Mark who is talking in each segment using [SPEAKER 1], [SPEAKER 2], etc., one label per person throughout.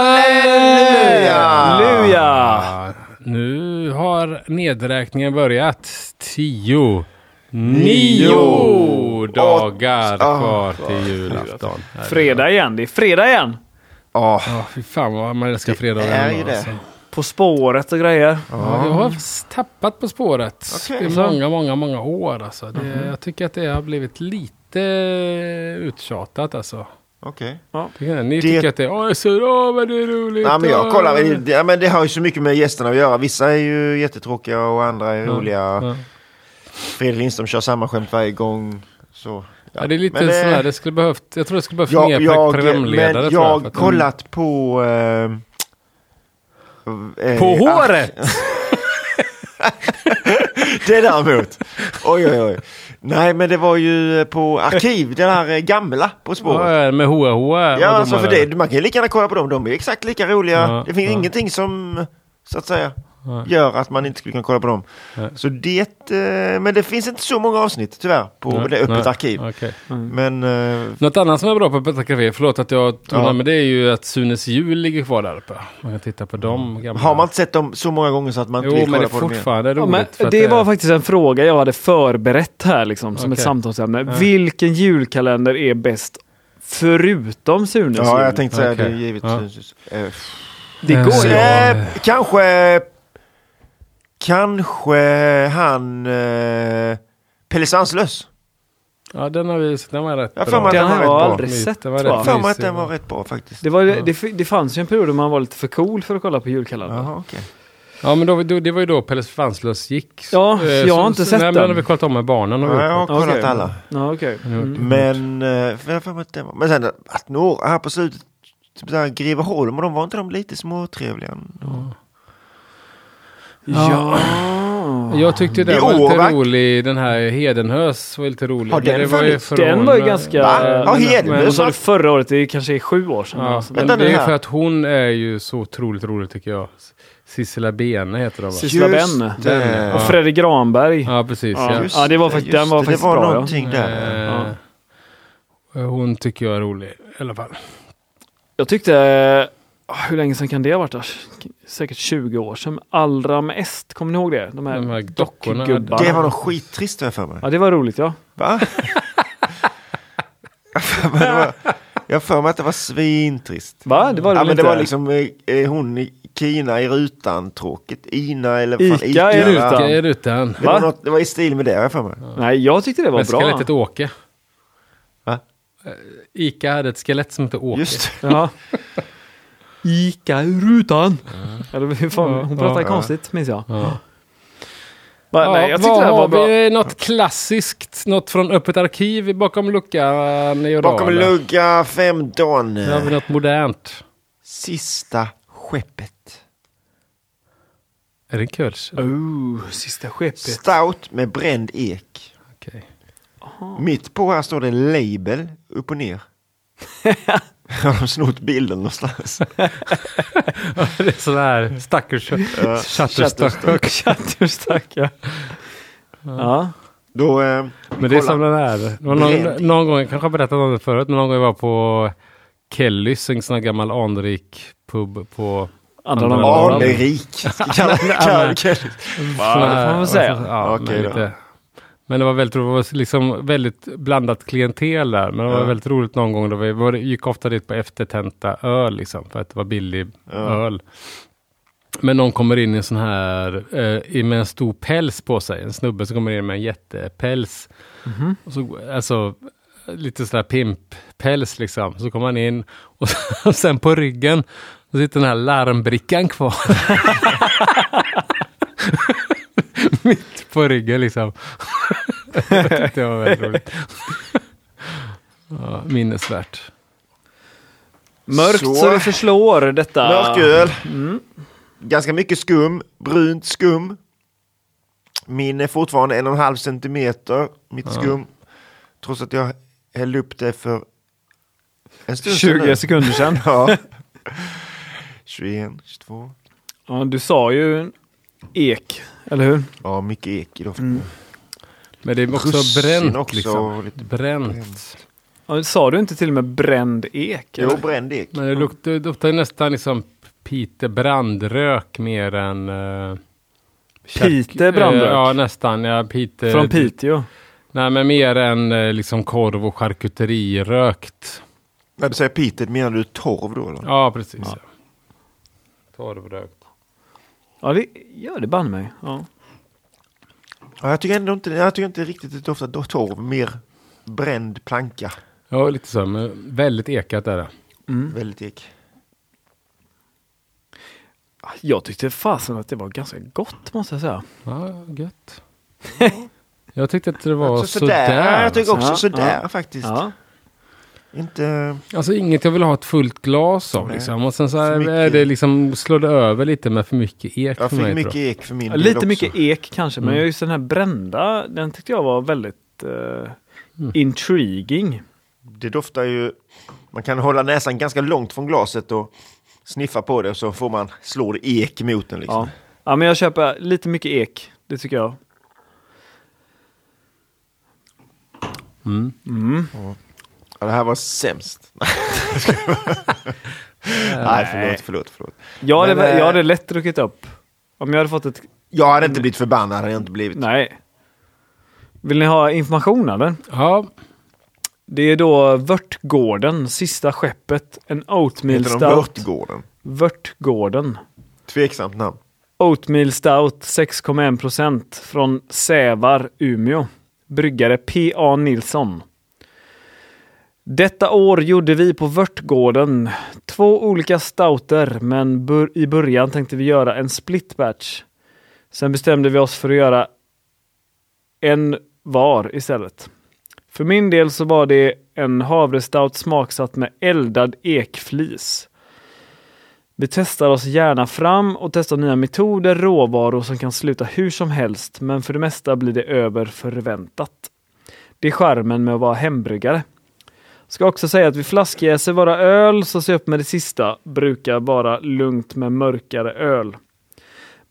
[SPEAKER 1] Halleluja!
[SPEAKER 2] Halleluja!
[SPEAKER 1] Nu har nedräkningen börjat. Tio.
[SPEAKER 2] Nio
[SPEAKER 1] Nio dagar
[SPEAKER 2] Åt- ah,
[SPEAKER 1] kvar till julafton.
[SPEAKER 2] Fredag igen, det är fredag igen.
[SPEAKER 3] Ja,
[SPEAKER 1] Ja, fy fan vad man älskar fredagar.
[SPEAKER 3] är ju
[SPEAKER 1] ändå,
[SPEAKER 3] det.
[SPEAKER 1] alltså.
[SPEAKER 2] På spåret och grejer.
[SPEAKER 1] Ja, jag har faktiskt tappat På spåret
[SPEAKER 3] Okej.
[SPEAKER 1] i många, många, många år. Alltså. Det, Jag tycker att det har blivit lite uttjatat. Alltså.
[SPEAKER 3] okej.
[SPEAKER 1] Tycker ni? Ni
[SPEAKER 3] Det-
[SPEAKER 1] tycker att det är, "Åh, jag ser av, men det är roligt.
[SPEAKER 3] Nej, men jag
[SPEAKER 1] åh."
[SPEAKER 3] kollar, men det, ja, men det har ju så mycket med gästerna att göra. Vissa är ju jättetråkiga och andra är roliga.
[SPEAKER 1] Ja.
[SPEAKER 3] Fredrik Lindström kör samma skämt varje gång. Så,
[SPEAKER 1] Ja, det är lite
[SPEAKER 3] Men, eh,
[SPEAKER 1] sådär, det skulle behövt, jag tror det skulle behövt
[SPEAKER 3] jag,
[SPEAKER 1] mer
[SPEAKER 3] jag,
[SPEAKER 1] programledare.
[SPEAKER 3] men
[SPEAKER 1] tror
[SPEAKER 3] jag
[SPEAKER 1] för
[SPEAKER 3] har
[SPEAKER 1] att-
[SPEAKER 3] kollat på... Eh, eh,
[SPEAKER 1] På
[SPEAKER 3] ah,
[SPEAKER 1] håret!
[SPEAKER 3] Det däremot. Oj, oj, oj. Nej, men det var ju på arkiv, den här eh, gamla På spåret.
[SPEAKER 1] Ja, med hoa hoa.
[SPEAKER 3] Ja, alltså för det, man kan ju lika gärna kolla på dem. De är exakt lika roliga.
[SPEAKER 1] Ja,
[SPEAKER 3] det finns
[SPEAKER 1] ja.
[SPEAKER 3] ingenting som, så att säga,
[SPEAKER 1] Nej.
[SPEAKER 3] gör att man inte skulle kunna kolla på dem.
[SPEAKER 1] Nej.
[SPEAKER 3] Så det, eh, men det finns inte så många avsnitt tyvärr på det öppet arkiv.
[SPEAKER 1] Okay.
[SPEAKER 3] Men eh,
[SPEAKER 1] Något annat som är bra på Öppet Café, förlåt att jag tonar,
[SPEAKER 3] Ja.
[SPEAKER 1] men det är ju att Sunes jul ligger kvar där uppe. Man kan titta på dem gamla.
[SPEAKER 3] Mm. har man inte sett dem så många gånger så att man inte
[SPEAKER 1] Jo,
[SPEAKER 3] vill
[SPEAKER 1] men det
[SPEAKER 3] kolla
[SPEAKER 1] är
[SPEAKER 3] på dem igen?
[SPEAKER 1] fortfarande
[SPEAKER 2] Ja,
[SPEAKER 1] roligt.
[SPEAKER 2] men
[SPEAKER 1] för att
[SPEAKER 2] det var faktiskt en fråga jag hade förberett här liksom, som ett
[SPEAKER 1] Okej.
[SPEAKER 2] samtalsämne. Vilken julkalender är bäst förutom Sunes
[SPEAKER 3] Ja,
[SPEAKER 2] jul?
[SPEAKER 3] jag tänkte säga det
[SPEAKER 1] Okej.
[SPEAKER 3] är givet.
[SPEAKER 1] Ja.
[SPEAKER 3] Eh,
[SPEAKER 2] Det
[SPEAKER 1] Eh,
[SPEAKER 2] går
[SPEAKER 3] så,
[SPEAKER 2] ju.
[SPEAKER 1] Ja.
[SPEAKER 3] eh, kanske... Kanske han... Eh, Pelle Svanslös.
[SPEAKER 1] Ja, den har vi den var rätt
[SPEAKER 3] Jag har för
[SPEAKER 1] bra.
[SPEAKER 3] mig att
[SPEAKER 2] Den har
[SPEAKER 3] den var rätt
[SPEAKER 2] jag
[SPEAKER 3] bra.
[SPEAKER 2] aldrig
[SPEAKER 1] Mysigt,
[SPEAKER 2] sett
[SPEAKER 1] den var
[SPEAKER 2] va?
[SPEAKER 3] Jag har för mig att
[SPEAKER 1] mysig.
[SPEAKER 3] den var rätt bra faktiskt.
[SPEAKER 2] Det, var, det, f- det fanns ju en period då man var lite för cool för att kolla på julkalendern.
[SPEAKER 3] Jaha, okej.
[SPEAKER 1] Ja, men då, då, det var ju då Pelle Svanslös gick.
[SPEAKER 2] Ja,
[SPEAKER 1] Eh,
[SPEAKER 2] jag har inte sett
[SPEAKER 1] nej, men
[SPEAKER 2] den.
[SPEAKER 1] Den har vi kollat om med barnen.
[SPEAKER 3] Ja, jag har kollat
[SPEAKER 2] Okej.
[SPEAKER 3] alla.
[SPEAKER 2] Ja, okej. Mm.
[SPEAKER 3] Men, eh, jag har för mig att den var... Men sen att några här på slutet, typ där Greveholm, och de var inte de lite småtrevliga? ändå?
[SPEAKER 2] Ja.
[SPEAKER 1] Jag tyckte
[SPEAKER 3] I
[SPEAKER 1] den var lite
[SPEAKER 3] Åvack.
[SPEAKER 1] rolig, den här Hedenhös var lite rolig.
[SPEAKER 3] Har
[SPEAKER 1] Men
[SPEAKER 3] den
[SPEAKER 1] det var ju
[SPEAKER 3] funnits?
[SPEAKER 1] från,
[SPEAKER 2] Den var ju
[SPEAKER 1] eh,
[SPEAKER 2] ganska...
[SPEAKER 3] Va? Ja, Hedlund.
[SPEAKER 2] Vad sa du förra året? Det är kanske är sju år sedan.
[SPEAKER 1] Ja,
[SPEAKER 2] Alltså,
[SPEAKER 1] men
[SPEAKER 3] Vänta nu
[SPEAKER 1] det är
[SPEAKER 3] här.
[SPEAKER 1] för att hon är ju så otroligt rolig tycker jag. Sissela Bene heter hon va?
[SPEAKER 2] Sissela
[SPEAKER 3] Just
[SPEAKER 2] Benne.
[SPEAKER 3] det.
[SPEAKER 1] Benne,
[SPEAKER 2] Och
[SPEAKER 1] ja.
[SPEAKER 2] Fredrik Granberg.
[SPEAKER 1] Ja, precis.
[SPEAKER 2] Ja,
[SPEAKER 1] Ja.
[SPEAKER 3] Just
[SPEAKER 2] det var faktiskt-
[SPEAKER 3] just
[SPEAKER 2] den var
[SPEAKER 3] det.
[SPEAKER 2] faktiskt
[SPEAKER 3] Det var
[SPEAKER 2] bra, ja.
[SPEAKER 3] någonting där.
[SPEAKER 1] Eh, Hon tycker jag är rolig i alla fall.
[SPEAKER 2] Jag tyckte, eh, hur länge sedan kan det ha varit? Asch, Säkert 20 år sedan. Allra med est, kommer ni ihåg det? De här,
[SPEAKER 1] De här dockorna.
[SPEAKER 2] dockgubbarna.
[SPEAKER 3] Det var nog skittrist har jag för mig.
[SPEAKER 2] Ja, det var roligt ja.
[SPEAKER 3] Va? jag för mig det var- jag har för mig att det var svintrist.
[SPEAKER 2] Va? Det var det
[SPEAKER 3] Ja,
[SPEAKER 2] väl
[SPEAKER 3] men det
[SPEAKER 2] inte?
[SPEAKER 3] var liksom eh, eh, hon i Kina i rutan tråkigt. Ina eller vad
[SPEAKER 2] Ica i
[SPEAKER 3] va?
[SPEAKER 2] rutan.
[SPEAKER 1] Ica i rutan.
[SPEAKER 3] Det var,
[SPEAKER 2] Va?
[SPEAKER 3] något, det var i stil med det har jag för mig.
[SPEAKER 2] Nej, jag tyckte det var
[SPEAKER 1] Men
[SPEAKER 2] bra.
[SPEAKER 1] skelettet Åke. Eh,
[SPEAKER 3] Va?
[SPEAKER 1] Ica hade ett skelett som hette Åke.
[SPEAKER 3] Just det.
[SPEAKER 2] Ja. Ica i rutan. Eller hur fan, hon pratade
[SPEAKER 1] Ja.
[SPEAKER 2] konstigt minns jag.
[SPEAKER 1] Ja.
[SPEAKER 2] Va, nej, jag tyckte
[SPEAKER 1] vad
[SPEAKER 2] det här var
[SPEAKER 1] har
[SPEAKER 2] bra.
[SPEAKER 1] vi? Något klassiskt, något från öppet arkiv bakom luckan i
[SPEAKER 3] Bakom
[SPEAKER 1] Ådalen?
[SPEAKER 3] lugga 15.
[SPEAKER 1] Här har vi något modernt.
[SPEAKER 3] Sista skeppet.
[SPEAKER 1] Är det en kölsch?
[SPEAKER 2] Oh, sista skeppet.
[SPEAKER 3] Stout med bränd ek.
[SPEAKER 1] Okej.
[SPEAKER 3] Mitt på här står det label upp och ner. Har de snott bilden någonstans?
[SPEAKER 1] det är sån här stackars chatterstack.
[SPEAKER 2] Chatterstack ja. ja.
[SPEAKER 3] Då, eh,
[SPEAKER 1] Men det är
[SPEAKER 3] kolla.
[SPEAKER 1] som den här. Det var
[SPEAKER 3] Bred.
[SPEAKER 1] någon, någon gång, jag kanske har berättat om det förut, men någon gång jag var på Kellys, en sån här gammal anrik pub på...
[SPEAKER 2] Andra
[SPEAKER 1] Andra
[SPEAKER 2] namn.
[SPEAKER 1] namn.
[SPEAKER 3] Anrik. Ska kalla- kalla- kalla-
[SPEAKER 1] sån
[SPEAKER 2] det får man väl säga.
[SPEAKER 1] Ja,
[SPEAKER 3] Okej
[SPEAKER 1] men,
[SPEAKER 3] då.
[SPEAKER 1] lite, men det var väldigt roligt, det var liksom väldigt blandat klientel där. Men det var
[SPEAKER 3] Ja.
[SPEAKER 1] väldigt roligt någon gång då vi var, gick ofta dit på eftertenta öl liksom, för att det var billig öl. Men någon kommer in i en sån här, eh, i- med en stor päls på sig, en snubbe som kommer in med en jättepäls.
[SPEAKER 3] Mhm.
[SPEAKER 1] Och så, alltså, lite sådär pimppäls liksom. Så kommer han in och sen på ryggen så sitter den här larmbrickan kvar. Mitt på ryggen liksom. det var väldigt roligt. Ja, minnesvärt.
[SPEAKER 2] Mörkt så.
[SPEAKER 3] Så.
[SPEAKER 2] det förslår detta.
[SPEAKER 3] Mörköl.
[SPEAKER 2] Mm.
[SPEAKER 3] Ganska mycket skum. Brunt skum. Min är fortfarande en och en halv centimeter. Mitt skum. Trots att jag hällde upp det för en stund sedan nu.
[SPEAKER 2] 20 sekunder sedan.
[SPEAKER 3] Ja. 21, 22.
[SPEAKER 2] Ja, du sa ju ek, eller hur?
[SPEAKER 3] Ja, mycket
[SPEAKER 2] Mm.
[SPEAKER 3] ek i doften.
[SPEAKER 1] Men det är också
[SPEAKER 3] Russin
[SPEAKER 1] bränt
[SPEAKER 3] också,
[SPEAKER 1] liksom.
[SPEAKER 3] och lite
[SPEAKER 1] Bränt.
[SPEAKER 3] bränt.
[SPEAKER 2] Ja, Sa du inte till och med bränd ek?
[SPEAKER 3] Jo,
[SPEAKER 2] eller?
[SPEAKER 3] bränd ek.
[SPEAKER 2] Mm.
[SPEAKER 1] Men det luktar, det luktar ju nästan liksom Peter Brandrök mer än... eh,
[SPEAKER 2] Peter Brandrök?
[SPEAKER 1] eh, ja, nästan. Ja, Peter,
[SPEAKER 2] Från Piteå?
[SPEAKER 1] Nej, men mer än eh, liksom korv och charkuterirökt.
[SPEAKER 3] När du säger pitet, menar du torv då? Eller?
[SPEAKER 1] Ja, precis. Ja. Torvrökt.
[SPEAKER 2] Ja, det gör det banne mig. Ja.
[SPEAKER 3] Ja, jag tycker ändå inte, jag tycker inte riktigt det doftar do- torv, mer bränd planka.
[SPEAKER 1] Ja, lite så. Men väldigt ekat är det.
[SPEAKER 2] Mm.
[SPEAKER 3] Väldigt ek.
[SPEAKER 2] Jag tyckte fasen att det var ganska gott måste jag säga.
[SPEAKER 1] Ja, gött. jag tyckte att det var
[SPEAKER 3] Alltså,
[SPEAKER 1] sådär.
[SPEAKER 3] Ja, jag tycker också
[SPEAKER 2] Ja,
[SPEAKER 3] sådär
[SPEAKER 2] ja.
[SPEAKER 3] faktiskt.
[SPEAKER 2] Ja.
[SPEAKER 3] Inte...
[SPEAKER 1] Alltså inget jag vill ha ett fullt glas av
[SPEAKER 3] Nej.
[SPEAKER 1] liksom. Och sen så här,
[SPEAKER 3] För mycket-
[SPEAKER 1] är det liksom, slår det över lite med för mycket ek
[SPEAKER 3] Jag
[SPEAKER 1] för
[SPEAKER 3] fick
[SPEAKER 1] mig.
[SPEAKER 3] mycket
[SPEAKER 1] tror jag.
[SPEAKER 3] ek för min
[SPEAKER 2] Ja,
[SPEAKER 3] del
[SPEAKER 2] Lite
[SPEAKER 3] också.
[SPEAKER 2] mycket ek kanske, men
[SPEAKER 1] Mm.
[SPEAKER 2] just den här brända, den tyckte jag var väldigt eh,
[SPEAKER 3] Mm.
[SPEAKER 2] intriguing.
[SPEAKER 3] Det doftar ju... Man kan hålla näsan ganska långt från glaset och sniffa på det och så får man slå det ek mot den. Liksom.
[SPEAKER 2] Ja. ja, men jag köper lite mycket ek, det tycker jag.
[SPEAKER 1] Mm.
[SPEAKER 2] Mm.
[SPEAKER 3] Ja, det här var sämst. Nej, förlåt, förlåt, förlåt.
[SPEAKER 2] Jag, hade,
[SPEAKER 3] Men, eh,
[SPEAKER 2] jag hade lätt druckit upp. Om jag hade fått ett...
[SPEAKER 3] Jag hade
[SPEAKER 2] Mm.
[SPEAKER 3] inte blivit förbannad, hade jag inte blivit.
[SPEAKER 2] Nej. Vill ni ha information eller?
[SPEAKER 1] Ja,
[SPEAKER 2] Det är då Vörtgården, sista skeppet. En oatmeal
[SPEAKER 3] Heter de
[SPEAKER 2] stout.
[SPEAKER 3] Vörtgården?
[SPEAKER 2] Vörtgården.
[SPEAKER 3] Tveksamt namn.
[SPEAKER 2] Oatmeal Stout 6,1% från Sävar, Umeå. Bryggare P.A. Nilsson. Detta år gjorde vi på Vörtgården två olika stouter men bur- i början tänkte vi göra en split batch. Sen bestämde vi oss för att göra en var istället. För min del så var det en havrestout smaksatt med eldad ekflis. Vi testar oss gärna fram och testar nya metoder, råvaror som kan sluta hur som helst, men för det mesta blir det över förväntat. Det är charmen med att vara hembryggare. Ska också säga att vi flaskjäser våra öl, så se upp med det sista. Brukar vara lugnt med mörkare öl.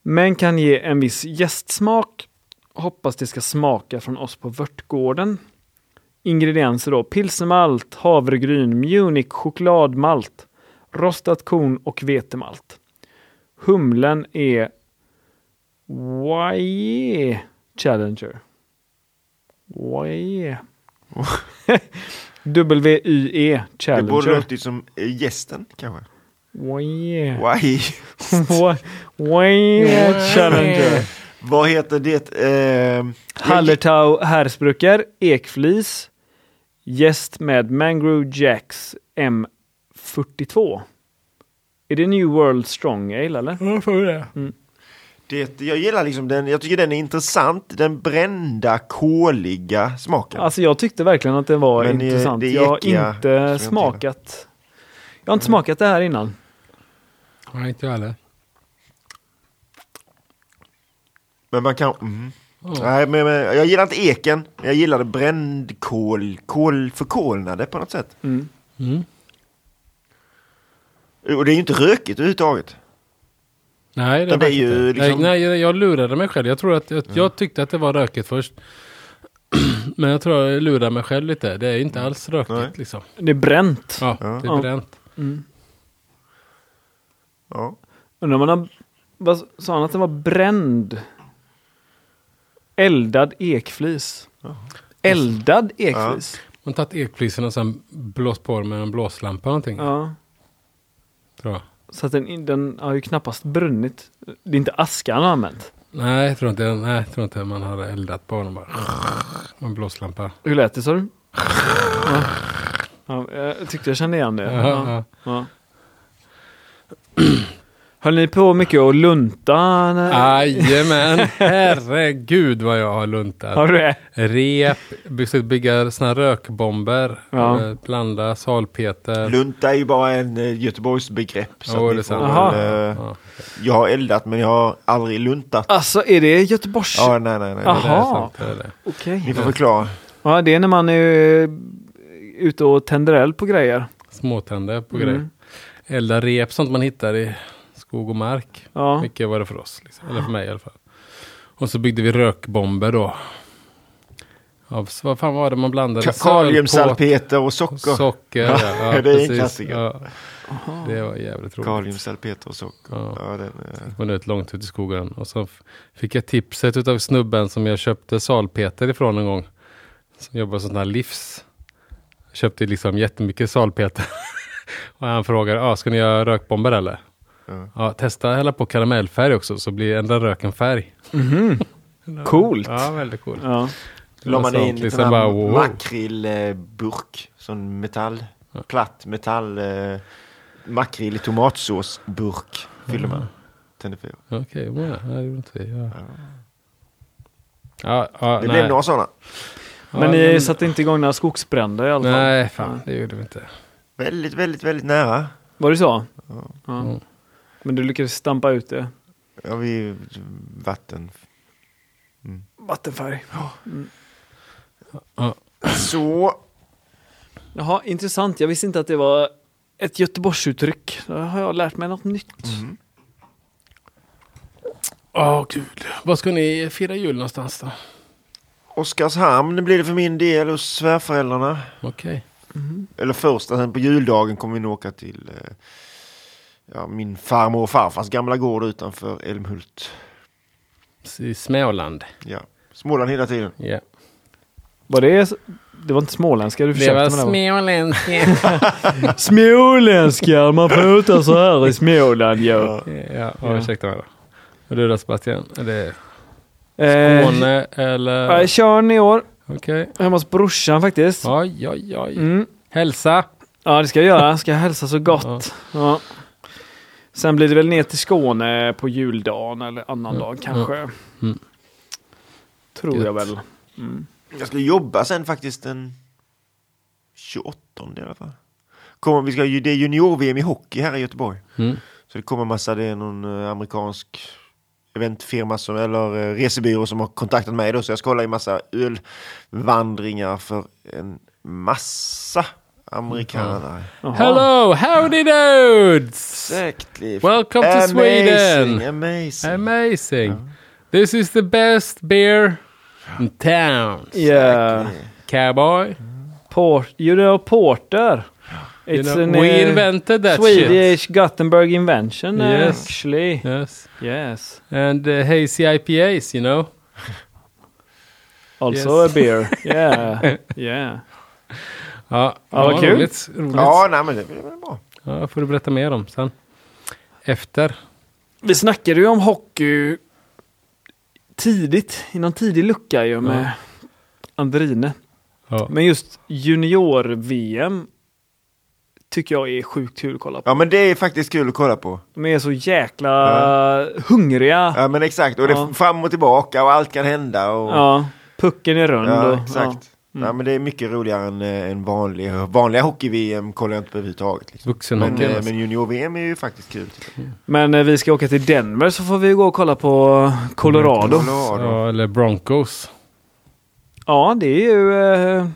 [SPEAKER 2] Men kan ge en viss gästsmak. Hoppas det ska smaka från oss på Vörtgården. Ingredienser då pilsemalt, havregryn, munich, chokladmalt rostat korn och vetemalt. Humlen är YE Challenger. YE. WYE
[SPEAKER 3] Det borde
[SPEAKER 2] E Challenger.
[SPEAKER 3] låtit som eh, gästen kanske.
[SPEAKER 2] YE.
[SPEAKER 3] Why?
[SPEAKER 2] YE Challenger.
[SPEAKER 3] Vad heter det? ehm,
[SPEAKER 2] Hallertau Härsbrucker, Ekflis. Gäst med Mangrove Jacks M42. Är det New World Strong Ale eller?
[SPEAKER 1] jag får det.
[SPEAKER 3] det, jag gillar liksom den, jag tycker den är intressant, den brända, koliga smaken.
[SPEAKER 2] Alltså jag tyckte verkligen att det var
[SPEAKER 3] Men det-
[SPEAKER 2] intressant.
[SPEAKER 3] det är
[SPEAKER 2] jag har
[SPEAKER 3] ekiga
[SPEAKER 2] inte
[SPEAKER 3] som jag inte
[SPEAKER 2] smakat. Jag har inte smakat det här innan.
[SPEAKER 1] Nej, inte jag heller.
[SPEAKER 3] Men man kan... Mm.
[SPEAKER 1] Ja.
[SPEAKER 3] Nej, men, men, jag gillar inte eken, men jag gillar det brändkål, kol, förkolnade på något sätt.
[SPEAKER 2] Mm.
[SPEAKER 1] Mm.
[SPEAKER 3] Och det är ju inte rökigt överhuvudtaget.
[SPEAKER 1] Nej, det,
[SPEAKER 3] Men det är
[SPEAKER 1] faktiskt
[SPEAKER 3] ju
[SPEAKER 1] inte.
[SPEAKER 3] liksom- Mm.
[SPEAKER 1] Nej, jag, jag lurade mig själv. Jag, tror att, jag, jag tyckte att det var rökigt först. Men jag tror jag lurade mig själv lite. Det är inte alls rökigt
[SPEAKER 3] Nej.
[SPEAKER 1] liksom.
[SPEAKER 2] Det är bränt.
[SPEAKER 1] Ja,
[SPEAKER 3] Ja.
[SPEAKER 1] det
[SPEAKER 2] Ja.
[SPEAKER 1] är bränt.
[SPEAKER 3] Ja.
[SPEAKER 2] Undrar om man har... Vad sa han att den var bränd? Eldad ekflis. Eldad ekflis?
[SPEAKER 1] Man har tagit ekflisen och sen blåst på den med en blåslampa eller någonting.
[SPEAKER 2] Ja.
[SPEAKER 1] Tror jag.
[SPEAKER 2] Så att den, den har ju knappast brunnit. Det är inte aska han har använt.
[SPEAKER 1] Nej, jag tror inte, nej, jag tror inte man hade eldat på den bara. Med en blåslampa.
[SPEAKER 2] Hur lät det sa du? Ja. Ja, jag tyckte jag kände igen det.
[SPEAKER 1] Ja,
[SPEAKER 2] Ja.
[SPEAKER 1] ja.
[SPEAKER 2] Ja. Höll ni på mycket att lunta? när-
[SPEAKER 1] Jajamän, herregud vad jag har luntat.
[SPEAKER 2] Har du det?
[SPEAKER 1] Rep, byggt- bygga såna här rökbomber,
[SPEAKER 2] Ja.
[SPEAKER 1] eh, blanda salpeter.
[SPEAKER 3] Lunta är ju bara en eh, Göteborgsbegrepp. Så
[SPEAKER 1] Ja,
[SPEAKER 3] att
[SPEAKER 1] det
[SPEAKER 3] ni
[SPEAKER 1] är
[SPEAKER 3] får,
[SPEAKER 1] sant.
[SPEAKER 2] Aha.
[SPEAKER 3] väl, eh,
[SPEAKER 1] Ja.
[SPEAKER 3] jag har eldat men jag har aldrig luntat.
[SPEAKER 2] Alltså är det Göteborgs...
[SPEAKER 3] Ja, nej, nej, nej.
[SPEAKER 1] Det är
[SPEAKER 2] Aha.
[SPEAKER 1] sant, det är det.
[SPEAKER 2] Okej.
[SPEAKER 3] Ni får förklara.
[SPEAKER 2] Ja, det är när man är eh, ute och tänder eld på grejer.
[SPEAKER 1] Småtänder på
[SPEAKER 2] Mm.
[SPEAKER 1] grejer. Elda rep, sånt man hittar i skog och mark.
[SPEAKER 2] Ja.
[SPEAKER 1] Mycket var det för oss, liksom. eller för mig i alla fall. Och så byggde vi rökbomber då. Av, vad fan var det man blandade?
[SPEAKER 3] Kaliumsalpeter och socker.
[SPEAKER 1] Socker. socker ja, ja,
[SPEAKER 3] det är en
[SPEAKER 1] precis.
[SPEAKER 3] klassiker.
[SPEAKER 1] Ja. Det var jävligt roligt.
[SPEAKER 3] Kaliumsalpeter och socker.
[SPEAKER 1] Ja.
[SPEAKER 3] Ja, den, eh,
[SPEAKER 1] Men ut långt ut i skogen. Och så f- fick jag tipset utav snubben som jag köpte salpeter ifrån en gång. Som jobbar sån här livs. Köpte liksom jättemycket salpeter. och han frågar, ah, ska ni göra rökbomber eller?
[SPEAKER 3] Ja.
[SPEAKER 1] Ja, testa att hälla på karamellfärg också så blir ändra röken färg.
[SPEAKER 2] Coolt!
[SPEAKER 1] Ja, väldigt coolt.
[SPEAKER 2] Ja.
[SPEAKER 3] la man
[SPEAKER 1] Sånt,
[SPEAKER 3] in en
[SPEAKER 1] liksom
[SPEAKER 3] liten
[SPEAKER 1] bara, wow.
[SPEAKER 3] makrillburk. Sån metall. Platt metall. Eh, makrill i tomatsåsburk. Fyller
[SPEAKER 1] Ah.
[SPEAKER 3] man. Tände fyr.
[SPEAKER 1] Okej, okay, ja, det gjorde inte vi. Ja. Ja, ja,
[SPEAKER 3] Det
[SPEAKER 1] Ah, nej.
[SPEAKER 3] blev några sådana.
[SPEAKER 1] Ja,
[SPEAKER 2] Men ni satte inte igång några skogsbränder i alla fall?
[SPEAKER 1] Nej, fan, det gjorde vi inte.
[SPEAKER 3] Väldigt, väldigt, väldigt nära.
[SPEAKER 2] Var det så? Ja. Men du lyckades stampa ut det?
[SPEAKER 3] Ja, vi, vatten.
[SPEAKER 2] Vattenfärg.
[SPEAKER 1] Ja.
[SPEAKER 3] Så.
[SPEAKER 2] Jaha, intressant. Jag visste inte att det var ett Göteborgsuttryck. Där har jag lärt mig något nytt.
[SPEAKER 1] Åh, gud. Var ska ni fira jul någonstans då?
[SPEAKER 3] Oskarshamn blir det för min del hos svärföräldrarna.
[SPEAKER 1] Okej.
[SPEAKER 3] Eller första, sen på juldagen kommer vi nog åka till eh, ja, min farmor och farfars gamla gård utanför Älmhult.
[SPEAKER 1] I Småland.
[SPEAKER 3] Ja. Småland hela tiden.
[SPEAKER 1] Ja.
[SPEAKER 2] Var det... Det var inte småländska du
[SPEAKER 1] Det
[SPEAKER 2] försökte
[SPEAKER 1] var
[SPEAKER 2] med? Det
[SPEAKER 1] småländska.
[SPEAKER 2] Småländska! Man pratar så här i Småland ju. Ja.
[SPEAKER 1] ja, och ursäkta mig då. Och du då Sebastian? Är det
[SPEAKER 2] Eh,
[SPEAKER 1] Skåne
[SPEAKER 2] ja,
[SPEAKER 1] eller?
[SPEAKER 2] Körn i år.
[SPEAKER 1] Okej.
[SPEAKER 2] Hemma hos brorsan faktiskt.
[SPEAKER 1] Oj, oj, oj.
[SPEAKER 2] Mm.
[SPEAKER 1] Hälsa!
[SPEAKER 2] Ja, det ska jag göra. Ska jag hälsa så gott. Ja. Sen blir det väl ner till Skåne på juldagen eller annan dag kanske.
[SPEAKER 1] Mm.
[SPEAKER 2] Tror
[SPEAKER 1] Gött.
[SPEAKER 2] jag väl. Mm.
[SPEAKER 3] Jag ska jobba sen faktiskt den 28 i alla fall. Kommer, vi ska, ju- det är junior-VM i hockey här i Göteborg.
[SPEAKER 1] Mm.
[SPEAKER 3] Så det kommer massa, det är någon eh, amerikansk eventfirma som, eller eh, resebyrå som har kontaktat mig då. Så jag ska hålla i massa ölvandringar för en massa amerikanare.
[SPEAKER 2] Jaha.
[SPEAKER 1] Hello, howdy dudes!
[SPEAKER 3] Exactly.
[SPEAKER 1] Welcome to Sweden!
[SPEAKER 3] Amazing, amazing.
[SPEAKER 1] Amazing! This is the best beer in town.
[SPEAKER 2] Yeah.
[SPEAKER 1] Cowboy.
[SPEAKER 2] Port, you know Porter.
[SPEAKER 1] You
[SPEAKER 2] It's
[SPEAKER 1] know,
[SPEAKER 2] an
[SPEAKER 1] we
[SPEAKER 2] eh,
[SPEAKER 1] invented that shit.
[SPEAKER 2] Swedish Gothenburg invention eh,
[SPEAKER 1] Yes.
[SPEAKER 2] actually.
[SPEAKER 1] Yes.
[SPEAKER 2] Yes.
[SPEAKER 1] And uh, hazy IPAs, you know?
[SPEAKER 2] Also
[SPEAKER 1] Yes.
[SPEAKER 2] a beer. Yeah. yeah.
[SPEAKER 1] Ja,
[SPEAKER 2] Ja, vad kul.
[SPEAKER 1] roligt. roligt.
[SPEAKER 3] Ja, nej, men det blir väl bra.
[SPEAKER 1] Ja, får du berätta mer om sen. Efter.
[SPEAKER 2] Vi snackade ju om hockey tidigt, i någon tidig lucka ju med Andrine.
[SPEAKER 1] Ja.
[SPEAKER 2] Men just junior-VM tycker jag är sjukt kul att kolla på.
[SPEAKER 3] Ja, men det är faktiskt kul att kolla på.
[SPEAKER 2] De är så jäkla hungriga. Ja.
[SPEAKER 3] Ja, men exakt. Och det
[SPEAKER 2] Ja.
[SPEAKER 3] är fram och tillbaka och allt kan hända. Och...
[SPEAKER 2] pucken är rund.
[SPEAKER 3] Ja,
[SPEAKER 2] och,
[SPEAKER 3] exakt.
[SPEAKER 2] Mm.
[SPEAKER 3] Ja, men det är mycket roligare än, eh, än vanlig, vanliga hockey-VM kollar jag inte på överhuvudtaget. Liksom. Men,
[SPEAKER 1] Vuxenhockey.
[SPEAKER 3] eh,
[SPEAKER 1] alltså.
[SPEAKER 3] men junior-VM är ju faktiskt kul. tycker jag.
[SPEAKER 2] Ja. Men när vi ska åka till Denver så får vi gå och kolla på eh, Colorado.
[SPEAKER 1] Mm.
[SPEAKER 3] Colorado.
[SPEAKER 1] Ja, eller Broncos.
[SPEAKER 2] Ja, det är ju eh,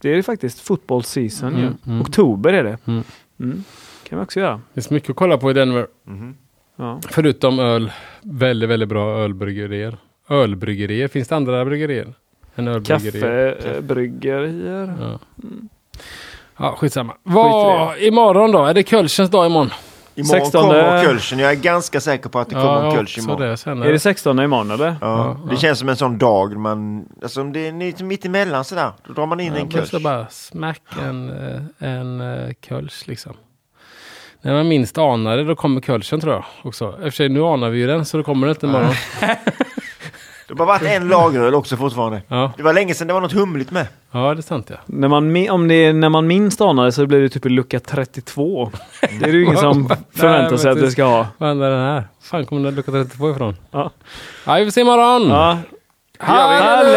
[SPEAKER 2] det är det faktiskt. Fotbollsseason ju.
[SPEAKER 1] Mm, mm.
[SPEAKER 2] Oktober är det.
[SPEAKER 1] Mm.
[SPEAKER 2] Mm. kan vi också göra.
[SPEAKER 1] Det finns mycket att kolla på i Denver.
[SPEAKER 3] Mhm.
[SPEAKER 2] Ja.
[SPEAKER 1] Förutom öl. Väldigt, väldigt bra ölbryggerier. Ölbryggerier. Finns det andra bryggerier? Än ölbryggerier?
[SPEAKER 2] eh, Kaffebryggerier.
[SPEAKER 1] Ja. Ja, skitsamma. Vad, imorgon då? Är det Kölschens dag imorgon?
[SPEAKER 3] Imorgon
[SPEAKER 2] 16.
[SPEAKER 3] kommer Kölschen. Jag är ganska säker på att det kommer en Kölsch
[SPEAKER 1] också
[SPEAKER 3] imorgon. Det.
[SPEAKER 1] det. Sen
[SPEAKER 2] Är det 16 imorgon eller?
[SPEAKER 3] Ja, det känns som en sån dag man, alltså om det är lite mitt emellan sådär, då drar man in en
[SPEAKER 1] Man
[SPEAKER 3] Kölsch.
[SPEAKER 1] måste bara smack en, eh, en eh, kölsch liksom. När man minst anar det, då kommer kölschen tror jag också. I och för sig, nu anar vi ju den, så då kommer det inte imorgon.
[SPEAKER 3] Det har bara varit en lageröl också fortfarande.
[SPEAKER 1] Ja,
[SPEAKER 3] Det var länge sedan det var något humligt med.
[SPEAKER 1] ja, det är sant ja.
[SPEAKER 2] När man, mi- om det är när man minst anar det så blir det typ i lucka 32. Det är det ju ingen som förväntar
[SPEAKER 1] men
[SPEAKER 2] sig att det
[SPEAKER 1] precis.
[SPEAKER 2] ska ha.
[SPEAKER 1] Vad är den här? Fan kommer den lucka 32 ifrån?
[SPEAKER 2] Ja.
[SPEAKER 1] Ja, vi får se imorgon!
[SPEAKER 2] Ja.
[SPEAKER 1] Hallå!